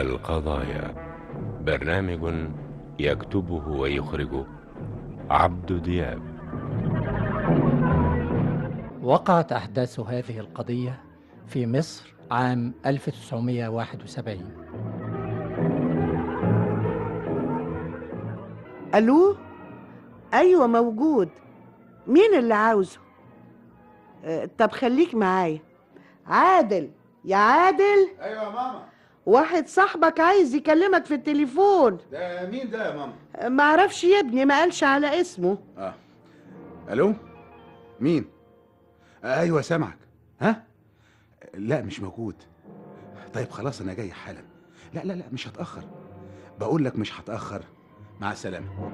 القضايا برنامج يكتبه ويخرجه عبد دياب وقعت أحداث هذه القضية في مصر عام 1971 الو ايوه موجود مين اللي عاوزه آه، طب خليك معايا عادل يا عادل ايوه يا ماما واحد صاحبك عايز يكلمك في التليفون ده مين ده يا ماما آه، معرفش يا ابني ما قالش على اسمه اه الو مين آه ايوه سامعك ها لا مش موجود طيب خلاص انا جاي حالا لا لا لا مش هتاخر بقول لك مش هتاخر مع السلامه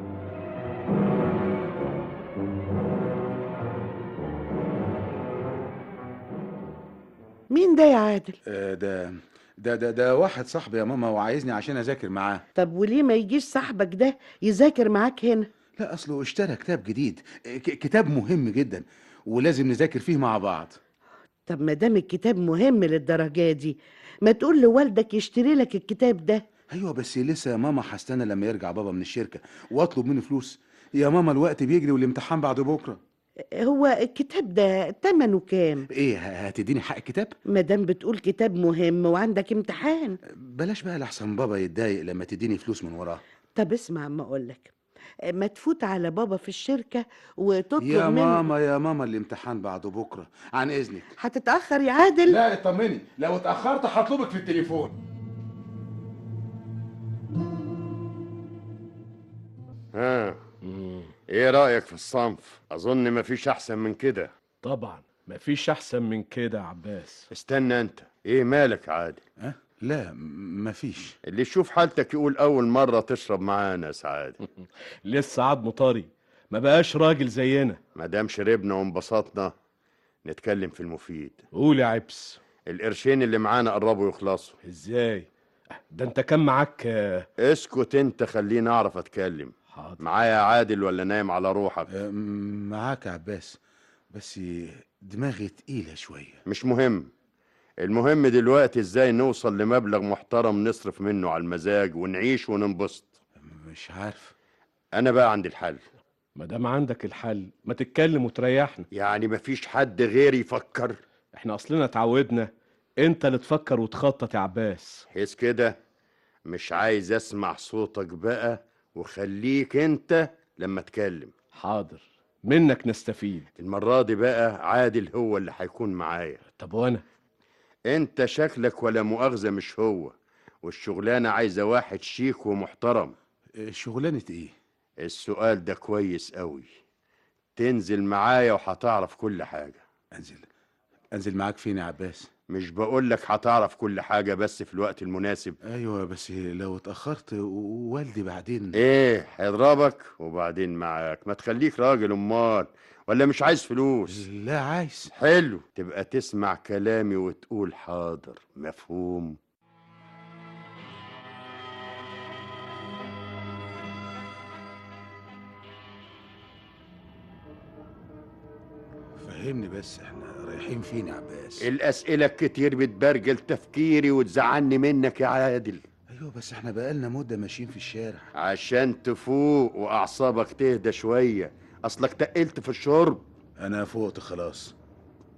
مين ده يا عادل آه ده ده ده ده واحد صاحبي يا ماما وعايزني عشان اذاكر معاه طب وليه ما يجيش صاحبك ده يذاكر معاك هنا لا اصله اشترى كتاب جديد آه، ك- كتاب مهم جدا ولازم نذاكر فيه مع بعض طب ما دام الكتاب مهم للدرجه دي ما تقول لوالدك يشتري لك الكتاب ده ايوه بس لسه يا ماما هستنى لما يرجع بابا من الشركه واطلب منه فلوس يا ماما الوقت بيجري والامتحان بعد بكره أه، هو الكتاب ده تمنه كام ايه ه- هتديني حق الكتاب ما دام بتقول كتاب مهم وعندك امتحان بلاش بقى لحسن بابا يتضايق لما تديني فلوس من وراه طب اسمع ما اقولك ما تفوت على بابا في الشركه وتطلب يا منه ماما يا ماما الامتحان بعد بكره عن اذنك هتتاخر يا عادل لا اطمني لو اتاخرت هطلبك في التليفون ها ايه رأيك في الصنف اظن مفيش احسن من كده طبعا مفيش احسن من كده يا عباس استنى انت ايه مالك عادي أه؟ لا م- مفيش اللي يشوف حالتك يقول اول مرة تشرب معانا يا سعادة لسه عضمه طري ما بقاش راجل زينا ما دام شربنا وانبسطنا نتكلم في المفيد قول يا عبس القرشين اللي معانا قربوا يخلصوا ازاي ده انت كان معاك آه، اسكت انت خليني اعرف اتكلم حاضر معايا عادل ولا نايم على روحك أه، معاك يا عباس بس دماغي تقيله شويه مش مهم المهم دلوقتي ازاي نوصل لمبلغ محترم نصرف منه على المزاج ونعيش وننبسط مش عارف انا بقى عندي الحل ما دام عندك الحل ما تتكلم وتريحنا يعني مفيش حد غيري يفكر احنا اصلنا اتعودنا انت اللي تفكر وتخطط يا عباس حيث كده مش عايز اسمع صوتك بقى وخليك انت لما اتكلم حاضر منك نستفيد المرة دي بقى عادل هو اللي هيكون معايا طب وانا انت شكلك ولا مؤاخذة مش هو والشغلانة عايزة واحد شيك ومحترم أه، شغلانه ايه السؤال ده كويس قوي تنزل معايا وهتعرف كل حاجة انزل انزل معاك فين يا عباس مش بقولك هتعرف كل حاجة بس في الوقت المناسب ايوه بس لو اتاخرت و- والدي بعدين ايه هيضربك وبعدين معاك ما تخليك راجل امال ولا مش عايز فلوس لا عايز حلو تبقى تسمع كلامي وتقول حاضر مفهوم فهمني بس احنا رايحين فين يا عباس إيه؟ الأسئلة الكتير بتبرجل تفكيري وتزعلني منك يا عادل ايوه بس احنا بقالنا مده ماشيين في الشارع عشان تفوق وأعصابك تهدى شوية أصلك تقلت في الشرب انا فوقت خلاص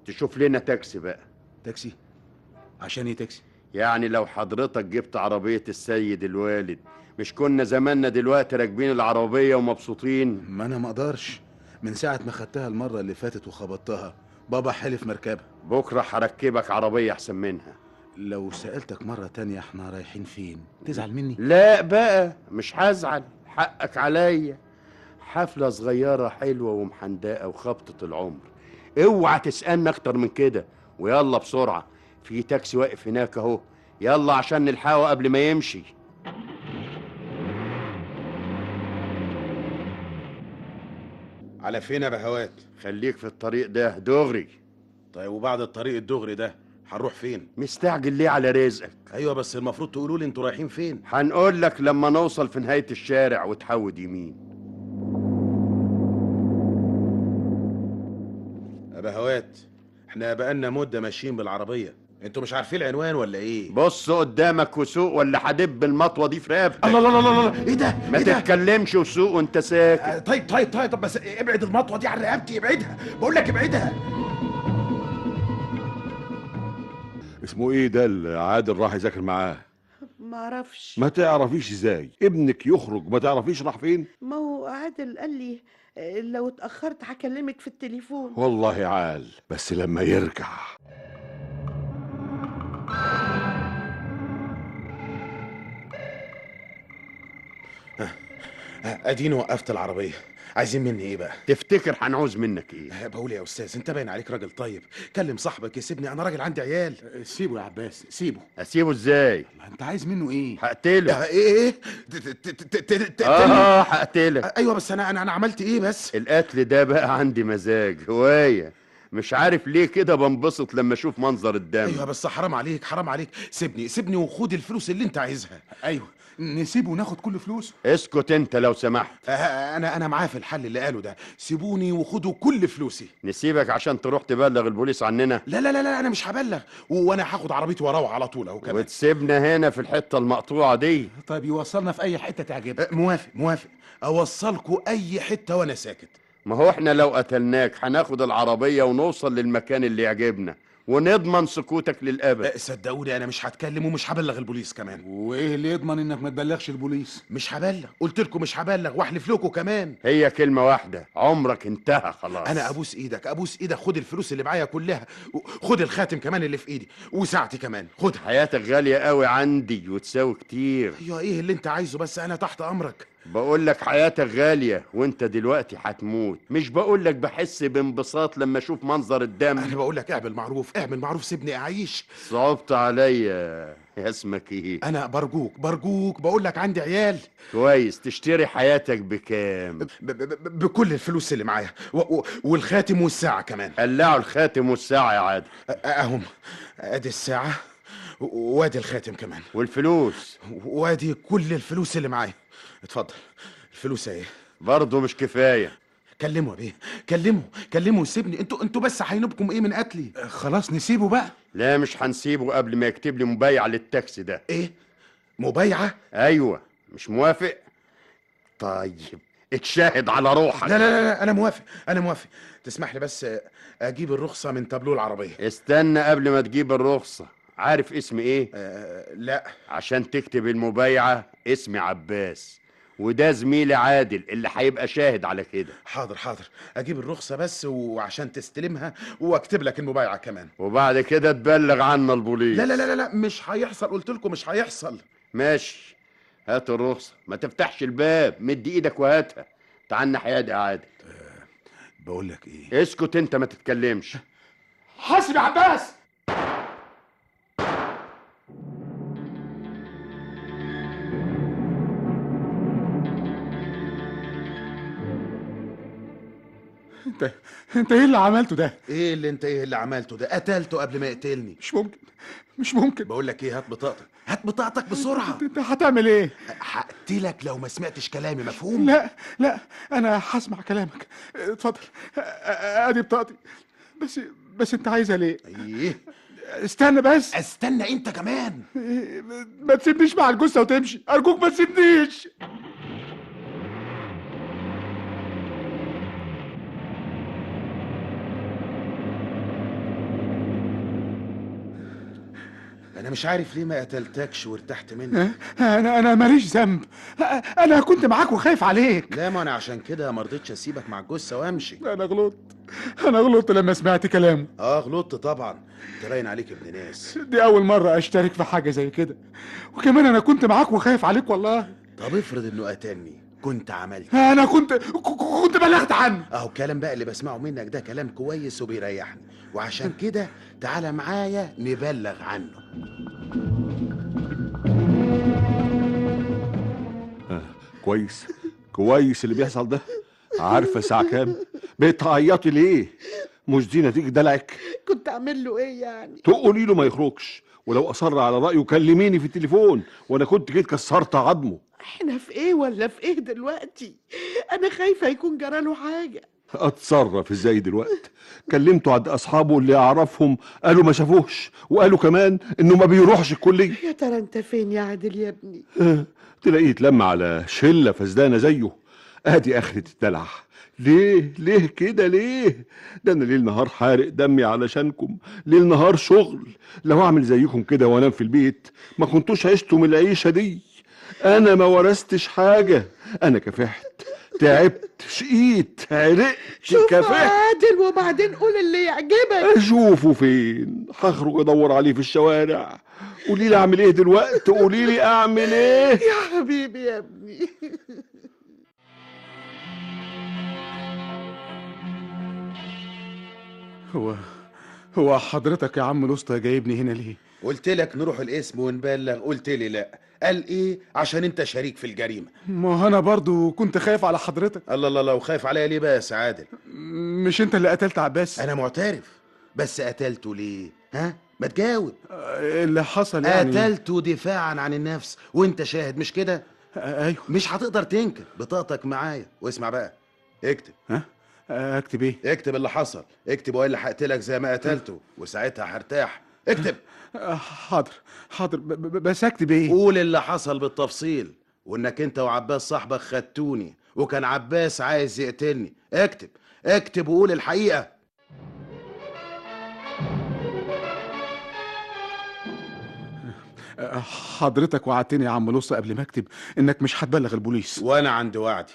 تشوف لنا تاكسي بقى تاكسي عشان ايه تاكسي يعني لو حضرتك جبت عربية السيد الوالد مش كنا زماننا دلوقتي راكبين العربية ومبسوطين ما انا ما اقدرش من ساعه ما خدتها المره اللي فاتت وخبطتها بابا حلف مركبها بكرة هركبك عربية أحسن منها لو سالتك مره تانية احنا رايحين فين تزعل مني لا بقى مش هزعل حقك عليا حفلة صغيرة حلوة ومحندقة وخبطة العمر اوعى تسألنا اكتر من كده ويلا بسرعة في تاكسي واقف هناك اهو يلا عشان نلحقه قبل ما يمشي على فين يا بهوات خليك في الطريق ده دغري طيب وبعد الطريق الدغري ده هنروح فين مستعجل ليه على رزقك ايوه بس المفروض تقولوا لي انتوا رايحين فين هنقول لك لما نوصل في نهاية الشارع وتحود يمين ابهوات احنا بقالنا مده ماشيين بالعربيه انتوا مش عارفين العنوان ولا ايه بص قدامك وسوق ولا هدب المطوه دي في رقبتك الله الله الله الله الله، ايه ده ما ايه ده تتكلمش وسوق وانت ساكت آه، طيب طيب طيب طب بس ابعد المطوه دي عن رقبتي ابعدها بقول لك ابعدها اسمه ايه ده اللي عادل راح يذاكر معاه معرفش ما تعرفيش ازاي ابنك يخرج ما تعرفيش راح فين ما هو عادل قال لي آه، لو اتأخرت هكلمك في التليفون والله عال بس لما يرجع آه، اديني وقفت العربيه عايزين مني ايه بقى تفتكر هنعوز منك ايه آه، بقول يا استاذ انت باين عليك راجل طيب كلم صاحبك يسيبني انا راجل عندي عيال آه، سيبه يا عباس سيبه اسيبه ازاي الله، انت عايز منه ايه هقتله آه، ايه ايه ت- ت- ت- ت- ت- اه آه، هقتلك ايوه بس انا انا انا عملت ايه بس القتل ده بقى عندي مزاج هوايه مش عارف ليه كده بنبسط لما اشوف منظر ايوه الدم بس حرام عليك حرام عليك سيبني سيبني وخد الفلوس اللي انت عايزها ايوه نسيبه وناخد كل فلوسه اسكت انت لو سمحت آه، انا انا معاه في الحل اللي قاله ده سيبوني وخدوا كل فلوسي نسيبك عشان تروح تبلغ البوليس عننا لا لا لا لا انا مش هبلغ و- وانا هاخد عربيتي واروح على طول اهو كمان وتسيبنا هنا في الحته المقطوعه دي طيب يوصلنا في اي حته تعجبك آه، موافق موافق اوصلكوا اي حته وانا ساكت ما هو احنا لو قتلناك هناخد العربيه ونوصل للمكان اللي يعجبنا ونضمن سكوتك للابد آه، صدقوني انا مش هتكلم ومش هبلغ البوليس كمان وايه اللي يضمن انك ما تبلغش البوليس مش هبلغ قلت لكم مش هبلغ واحلف لكم كمان هي كلمه واحده عمرك انتهى خلاص انا ابوس ايدك ابوس ايدك خد الفلوس اللي معايا كلها و- خد الخاتم كمان اللي في ايدي وساعتي كمان خدها حياتك غاليه قوي عندي وتساوي كتير ايوه ايه اللي انت عايزه بس انا تحت امرك بقول لك حياتك غالية وانت دلوقتي هتموت مش بقول لك بحس بانبساط لما اشوف منظر انا الدم بقول لك اعمل معروف اعمل معروف سيبني اعيش صعبت عليا يا اسمك ايه انا برجوك برجوك بقول لك عندي عيال كويس تشتري حياتك بكام ب- ب- ب- بكل الفلوس اللي معايا و- و- والخاتم والساعه كمان قلعوا الخاتم والساعة يا عادل أ- اهم ادي الساعه و- وادي الخاتم كمان والفلوس وادي كل الفلوس اللي معايا اتفضل الفلوس اهي برضه مش كفاية كلمه يا بيه كلمه كلمه وسيبني انتوا انتوا بس هينوبكم ايه من قتلي آه، خلاص نسيبه بقى لا مش هنسيبه قبل ما يكتب لي مبايع للتاكسي ده ايه مبايعه ايوه مش موافق طيب اتشاهد على روحك لا لا لا لا، انا موافق انا موافق تسمح لي بس اجيب الرخصه من تابلو العربيه استنى قبل ما تجيب الرخصة عارف اسم ايه أه لا عشان تكتب المبايعة اسمي عباس وده زميلي عادل اللي هيبقى شاهد على كده حاضر حاضر اجيب الرخصه بس وعشان تستلمها واكتب لك المبايعه كمان وبعد كده تبلغ عنا البوليس لا لا لا لا- لا مش هيحصل قلت لكم مش هيحصل ماشي هات الرخصة ما تفتحش الباب مد ايدك وهاتها تعنى حيادي يا عادل بقول لك ايه اسكت انت ما تتكلمش حاسب يا عباس انت انت ايه اللي عملته ده ايه اللي انت ايه اللي عملته ده قتلته قبل ما يقتلني مش ممكن مش ممكن بقول لك ايه هات بطاقتك هات بطاقتك بسرعه انت هتعمل ايه هقتلك لو ما سمعتش كلامي مفهوم لا لا انا هسمع كلامك اتفضل ا- ا- ادي بطاقتي بس بس انت عايزها ليه ايه استنى بس استنى انت كمان ما تسيبنيش مع الجثه وتمشي ارجوك ما تسيبنيش انا مش عارف ليه ما قتلتكش وارتحت منك انا انا ماليش ذنب انا كنت معاك وخايف عليك لا ما انا عشان كده ما رضيتش اسيبك مع الجثه وامشي انا غلطت انا غلطت لما سمعت كلامه اه غلطت طبعا انت باين عليك ابن ناس دي اول مره اشترك في حاجه زي كده وكمان انا كنت معاك وخايف عليك والله طب افرض انه قتلني كنت عملت انا كنت ك- كنت بلغت عنه اهو الكلام بقى اللي بسمعه منك ده كلام كويس وبيريحني وعشان كده تعالى معايا نبلغ عنه كويس كويس اللي بيحصل ده عارفه الساعه كام بتعيطي ليه مش دي نتيجه دلعك كنت اعمل له ايه يعني تقولي له ما يخرجش ولو اصر على رايه كلميني في التليفون وانا كنت جيت كسرت عظمه إيه احنا في ايه ولا في ايه دلوقتي انا خايفه يكون جرى له حاجه اتصرف ازاي دلوقتي كلمته عند اصحابه اللي اعرفهم قالوا ما شافوهش وقالوا كمان انه ما بيروحش الكليه يا ترى انت فين يا عادل يا ابني تلاقيه اتلم على شله فسدانه زيه ادي اخره الدلع ليه ليه كده ليه ده انا ليل نهار حارق دمي علشانكم ليل نهار شغل لو اعمل زيكم كده وانام في البيت ما كنتوش عشتم العيشه دي انا ما ورثتش حاجه انا كفحت تعبت شقيت عرقت شوف كفحت عادل وبعدين قول اللي يعجبك اشوفه فين هخرج ادور عليه في الشوارع قولي لي اعمل ايه دلوقتي قولي لي اعمل ايه يا حبيبي يا ابني هو هو حضرتك يا عم الوسطى جايبني هنا ليه قلت لك نروح القسم ونبلغ قلت لي لا قال ايه عشان انت شريك في الجريمه ما انا برضو كنت خايف على حضرتك الله الله الله وخايف عليا ليه بقى يا سعادل مش انت اللي قتلت عباس انا معترف بس قتلته ليه ها ما تجاوب اللي حصل يعني قتلته دفاعا عن النفس وانت شاهد مش كده آه، ايوه مش هتقدر تنكر بطاقتك معايا واسمع بقى اكتب آه، اكتب ايه اكتب اللي حصل اكتب واقول هقتلك زي ما قتلته وساعتها هرتاح اكتب آه، حاضر حاضر ب- ب- بس اكتب ايه قول اللي حصل بالتفصيل وانك انت وعباس صاحبك خدتوني وكان عباس عايز يقتلني اكتب اكتب وقول الحقيقه آه، حضرتك وعدتني يا عم الوسطى قبل ما اكتب انك مش هتبلغ البوليس وانا عند وعدي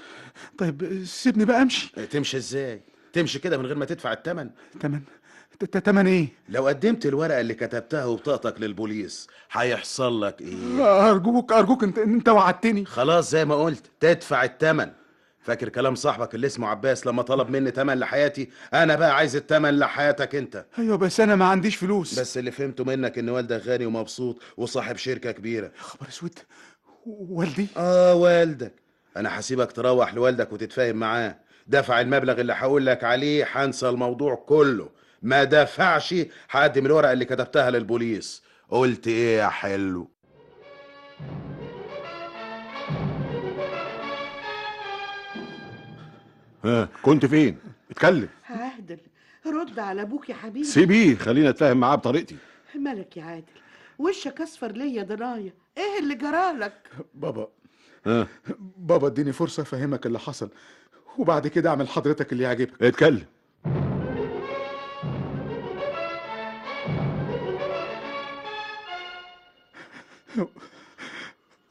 طيب سيبني بقى امشي تمشي ازاي تمشي كده من غير ما تدفع الثمن تمن ت- ت- تمن ايه لو قدمت الورقه اللي كتبتها وبطاقتك للبوليس هيحصل لك ايه ارجوك ارجوك انت انت وعدتني خلاص زي ما قلت تدفع الثمن فاكر كلام صاحبك اللي اسمه عباس لما طلب مني تمن لحياتي انا بقى عايز التمن لحياتك انت ايوه بس انا ما عنديش فلوس بس اللي فهمته منك ان والدك غني ومبسوط وصاحب شركه كبيره يا خبر اسود والدي اه والدك انا هسيبك تروح لوالدك وتتفاهم معاه دفع المبلغ اللي هقول لك عليه هنسى الموضوع كله ما دفعش هقدم الورقه اللي كتبتها للبوليس قلت ايه يا حلو ها كنت فين اتكلم عادل رد على ابوك يا حبيبي سيبيه خلينا اتفاهم إيه، معاه بطريقتي مالك يا عادل وشك اصفر ليا ضنايا ايه اللي جرالك بابا ها بابا اديني فرصه افهمك اللي حصل وبعد كده اعمل حضرتك اللي يعجبك اتكلم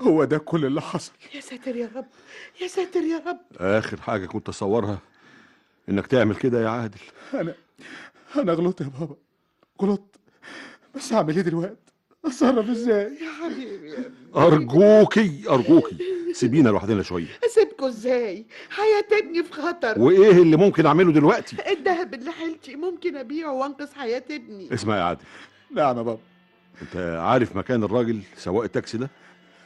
هو ده كل اللي حصل يا ساتر يا رب يا ساتر يا رب اخر حاجه كنت اتصورها انك تعمل كده يا عادل انا انا غلطت يا بابا غلطت بس هعمل ايه دلوقتي اتصرف ازاي يا حبيبي يا ابني ارجوكي ارجوكي سيبينا لوحدنا شويه اسيبكوا ازاي حياة ابني في خطر وايه اللي ممكن اعمله دلوقتي الذهب اللي حيلتي ممكن ابيعه وانقذ حياة ابني اسمع يا عادل نعم يا بابا انت عارف مكان الراجل سواق التاكسي ده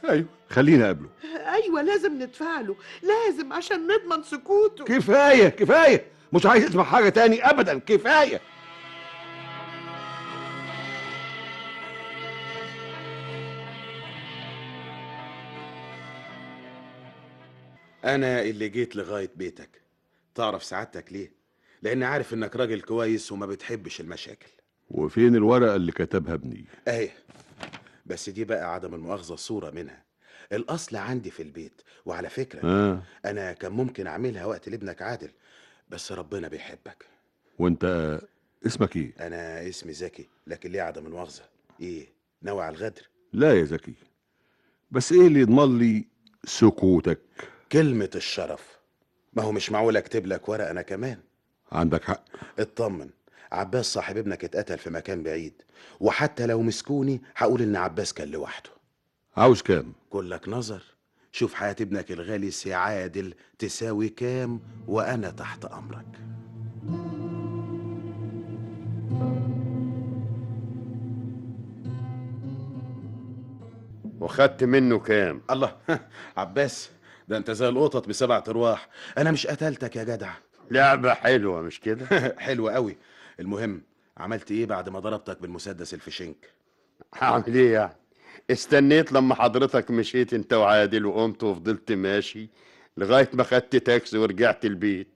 ايوه خلينا اقابله ايوه لازم ندفعله لازم عشان نضمن سكوته كفايه كفايه مش عايز اسمع حاجه تاني ابدا كفايه انا اللي جيت لغايه بيتك تعرف سعادتك ليه لان عارف انك راجل كويس وما بتحبش المشاكل وفين الورقه اللي كتبها ابني اهي بس دي بقى عدم المؤاخذه صوره منها الاصل عندي في البيت وعلى فكره ها انا كان ممكن اعملها وقت لابنك عادل بس ربنا بيحبك وانت اسمك ايه انا اسمي زكي لكن ليه عدم المؤاخذه ايه ناوي على الغدر لا يا زكي بس ايه اللي يضمن لي سكوتك كلمه الشرف ما هو مش معقول اكتب لك ورقه انا كمان عندك حق اطمن عباس صاحب ابنك اتقتل في مكان بعيد وحتى لو مسكوني هقول ان عباس كان لوحده عاوز كام كلك نظر شوف حياة ابنك الغالي سي عادل تساوي كام وأنا تحت أمرك وخدت منه كام الله عباس ده انت زي القطط بسبع ارواح انا مش قتلتك يا جدع لعبة حلوة مش كده حلو قوي المهم عملت ايه بعد ما ضربتك بالمسدس الفشنك هعمل ايه يعني استنيت لما حضرتك مشيت انت وعادل وقمت وفضلت ماشي لغاية ما خدت تاكسي ورجعت البيت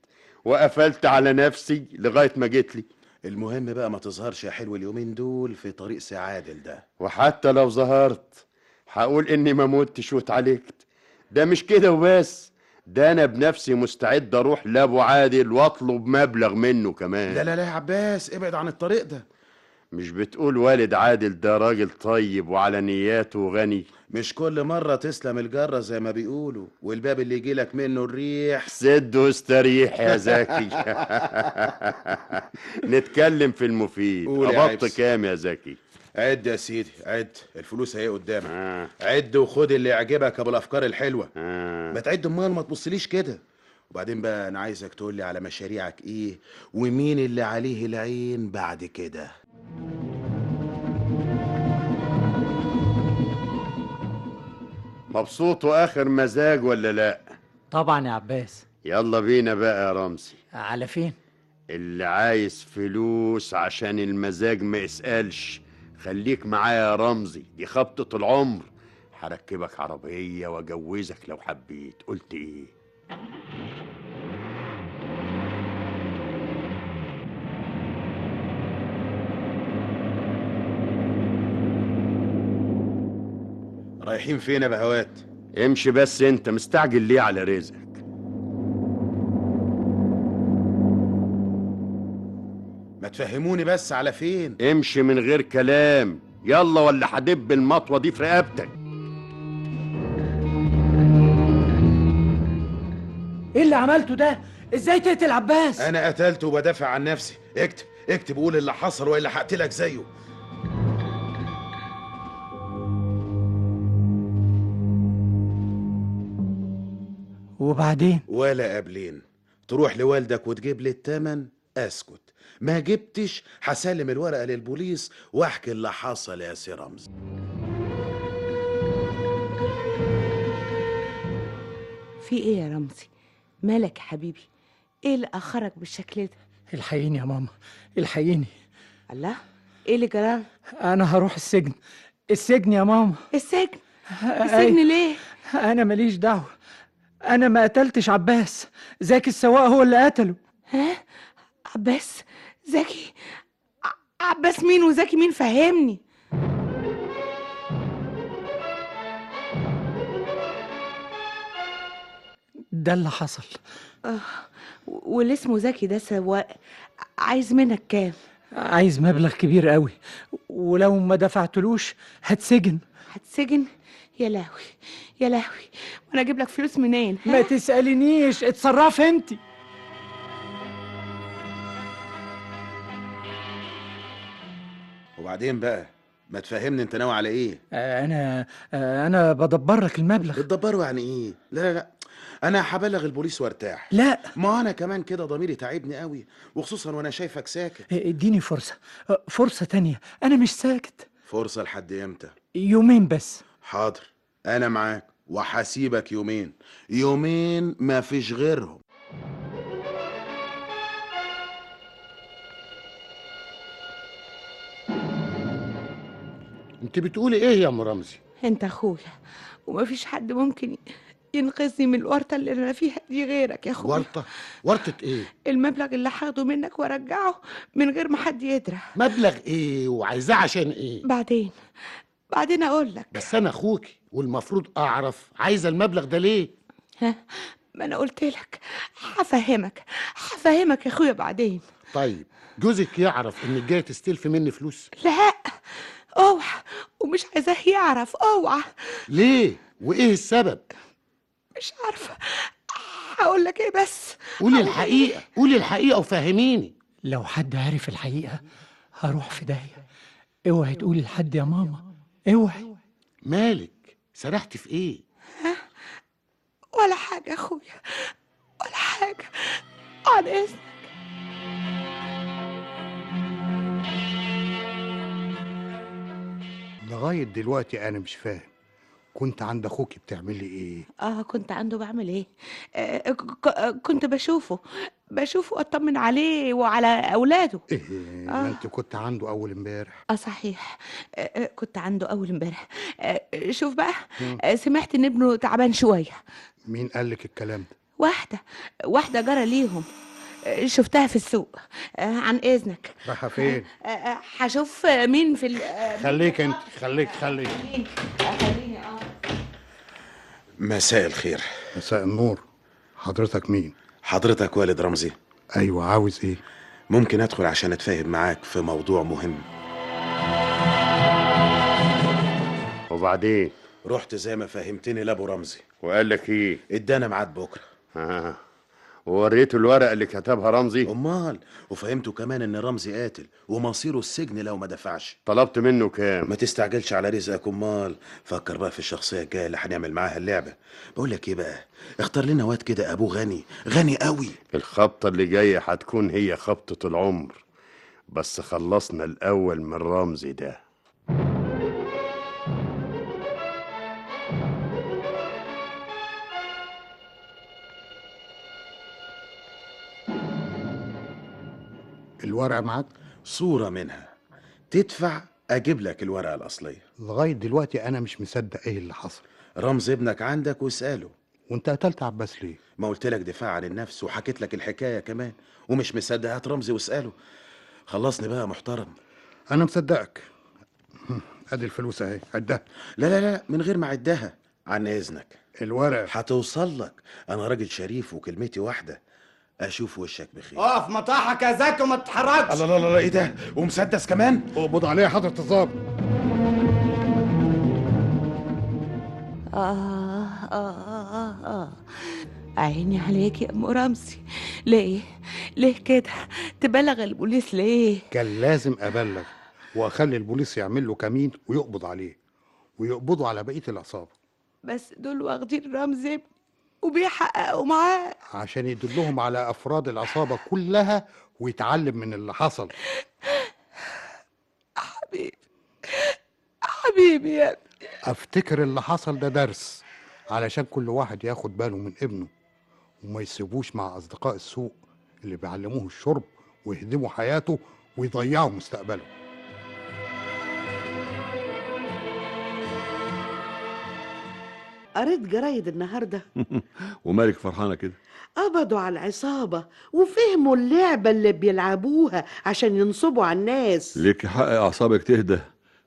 وقفلت على نفسي لغايه ما جيت لي المهم بقى ما تظهرش يا حلو اليومين دول في طريق سعادل ده وحتى لو ظهرت هقول اني ما متش واتعالجت ده مش كده وبس ده انا بنفسي مستعد اروح لابو عادل واطلب مبلغ منه كمان لا لا لا يا عباس ابعد عن الطريق ده مش بتقول والد عادل ده راجل طيب وعلى نياته وغني مش كل مرة تسلم الجرة زي ما بيقولوا والباب اللي يجيلك منه الريح سد واستريح يا زكي نتكلم في المفيد قول يا قبضت عبس. كام يا زكي عد يا سيدي عد الفلوس اهي قدامك آه. عد وخد اللي يعجبك ابو الافكار الحلوه آه. ما تعد امال ما تبصليش كده وبعدين بقى انا عايزك تقولي على مشاريعك ايه ومين اللي عليه العين بعد كده مبسوط واخر مزاج ولا لا طبعا يا عباس يلا بينا بقى يا رمزي على فين اللي عايز فلوس عشان المزاج ما يسألش خليك معايا يا رمزي دي خبطة العمر هركبك عربية واجوزك لو حبيت قلت ايه رايحين فين يا بهوات امشي بس انت مستعجل ليه على رزقك ما تفهموني بس على فين امشي من غير كلام يلا ولا هدب المطوة دي في رقبتك ايه اللي عملته ده ازاي تقتل عباس انا قتلت وبدافع عن نفسي اكتب اكتب قول اللي حصل والا هقتلك زيه وبعدين ولا قابلين تروح لوالدك وتجيب لي التمن اسكت ما جبتش هسلم الورقه للبوليس واحكي اللي حصل يا سي رمزي في ايه يا رمزي مالك يا حبيبي ايه اللي اخرك بالشكل ده الحقيني يا ماما الحقيني الله ايه اللي جرى انا هروح السجن السجن يا ماما السجن إيه؟ السجن ليه انا ماليش دعوه انا ما قتلتش عباس زكي السواق هو اللي قتله ها عباس زكي ع- عباس مين وزكي مين فهمني ده اللي حصل و- واللي اسمه زكي آه، ده سواق ع- عايز منك كام عايز مبلغ كبير قوي ولو ما دفعتلوش هتسجن هتسجن يا لهوي يا لهوي وانا اجيب لك فلوس منين ها؟ ما تسالنيش اتصرف انت وبعدين بقى ما تفهمني انت ناوي على ايه انا انا بدبر لك آه، المبلغ بتدبروا يعني ايه لا لا لا انا هبلغ البوليس وارتاح لا ما انا كمان كده ضميري تعبني قوي وخصوصا وانا شايفك ساكت اديني فرصه فرصه آه، تانية انا مش ساكت فرصه لحد امتى يومين بس حاضر انا معاك وهسيبك يومين يومين ما فيش غيرهم انت بتقولي ايه يا ام رمزي انت اخويا ومفيش حد ممكن ي- ينقذني من الورطه اللي انا فيها دي غيرك يا اخويا ورطه ورطه ايه المبلغ اللي هاخده منك وارجعه من غير ما حد يدرى مبلغ ايه وعايزاه عشان ايه بعدين بعدين اقول لك بس انا اخوكي والمفروض اعرف عايزه المبلغ ده ليه ها ما انا قلت لك هفهمك هفهمك يا اخويا بعدين طيب جوزك يعرف انك جاي تستلفي مني فلوس لا اوعى ومش عايزاه يعرف اوعى ليه وايه إيه السبب مش عارفه هقول لك ايه بس قولي الحقيقه قولي الحقيقه وفهميني لو حد عارف الحقيقه هروح في داهيه اوعي تقولي لحد يا ماما اوعي مالك سرحت في ايه ولا حاجه يا اخويا ولا حاجه عن اذنك لغايه دلوقتي انا مش فاهم كنت عند اخوكي بتعملي ايه اه كنت عنده بعمل ايه آه ك- ك- كنت بشوفه بشوفه اطمن عليه وعلى اولاده ايه آه. ما انت كنت عنده اول امبارح اه صحيح آه آه، كنت عنده اول امبارح آه شوف بقى آه سمعت ان ابنه تعبان شويه مين قال لك الكلام ده واحده واحده جرى ليهم آه، شفتها في السوق آه، عن إذنك رايحه فين آه، آه، هشوف مين في ال آه، خليك انت خليك خليك مين آه، خليني اه مساء الخير مساء النور حضرتك مين حضرتك والد رمزي ايوه عاوز ايه ممكن ادخل عشان اتفاهم معاك في موضوع مهم وبعدين رحت زي ما فهمتني لابو رمزي وقال لك ايه ادانا ميعاد بكره آه. ووريته الورقه اللي كتبها رمزي امال وفهمته كمان ان رمزي قاتل ومصيره السجن لو ما دفعش طلبت منه كام ما تستعجلش على رزقك امال فكر بقى في الشخصيه الجايه اللي هنعمل معاها اللعبه بقول لك ايه بقى اختار لنا واد كده ابوه غني غني قوي الخبطه اللي جايه هتكون هي خبطه العمر بس خلصنا الاول من رمزي ده الورقه معاك صوره منها تدفع اجيب لك الورقه الاصليه لغايه دلوقتي انا مش مصدق ايه اللي حصل رمز ابنك عندك واساله وانت قتلت عباس ليه ما قلت لك دفاع عن النفس وحكيت لك الحكايه كمان ومش مصدق هات رمزي واساله خلصني بقى يا محترم انا مصدقك ادي الفلوس اهي عدها لا لا لا من غير ما اعدها عن اذنك الورقه هتوصل لك انا راجل شريف وكلمتي واحده اشوف وشك بخير اقف مطاحك يا زكي وما تتحركش الله الله الله ايه ده ومسدس كمان اقبض عليها حضره الظابط آه آه آه عيني عليك يا أم رمزي ليه؟ ليه كده؟ تبلغ البوليس ليه؟ كان لازم ابلغ واخلي البوليس يعمل له كمين ويقبض عليه ويقبضوا على بقيه العصابه بس دول واخدين رمزي ابني وبيحققوا معاه عشان يدلهم على افراد العصابه كلها ويتعلم من اللي حصل حبيبي حبيبي يا ابني افتكر اللي حصل ده درس علشان كل واحد ياخد باله من ابنه وما يسيبوش مع اصدقاء السوء اللي بيعلموه الشرب ويهدموا حياته ويضيعوا مستقبله قريت جرايد النهارده ومالك فرحانه كده قبضوا على العصابة وفهموا اللعبة اللي بيلعبوها عشان ينصبوا على الناس ليك حق اعصابك تهدى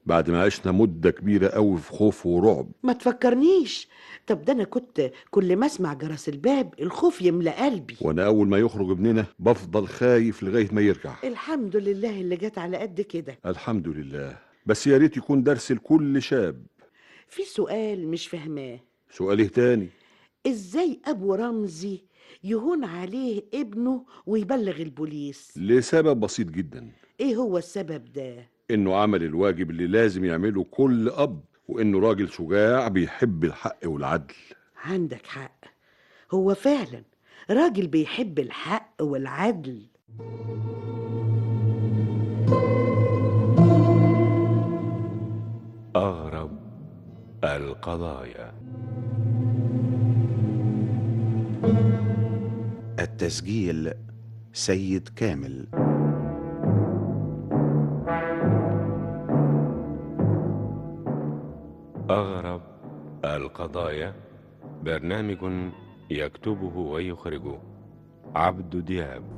بعد ما عشنا مده كبيره قوي في خوف ورعب ما تفكرنيش طب ده أنا كنت كل ما أسمع جرس الباب الخوف يملى قلبي وانا اول ما يخرج ابننا بفضل خايف لغايه ما يرجع الحمد لله اللي جت على قد كده الحمد لله بس يا ريت يكون درس لكل شاب في سؤال مش فاهماه سؤال إيه تاني إزاي أبو رمزي يهون عليه ابنه ويبلغ البوليس لسبب بسيط جدا إيه هو السبب ده انه عمل الواجب اللي لازم يعمله كل اب وانه راجل شجاع بيحب الحق والعدل عندك حق هو فعلا راجل بيحب الحق والعدل أغرب القضايا التسجيل سيد كامل أغرب القضايا برنامج يكتبه ويخرجه عبد دياب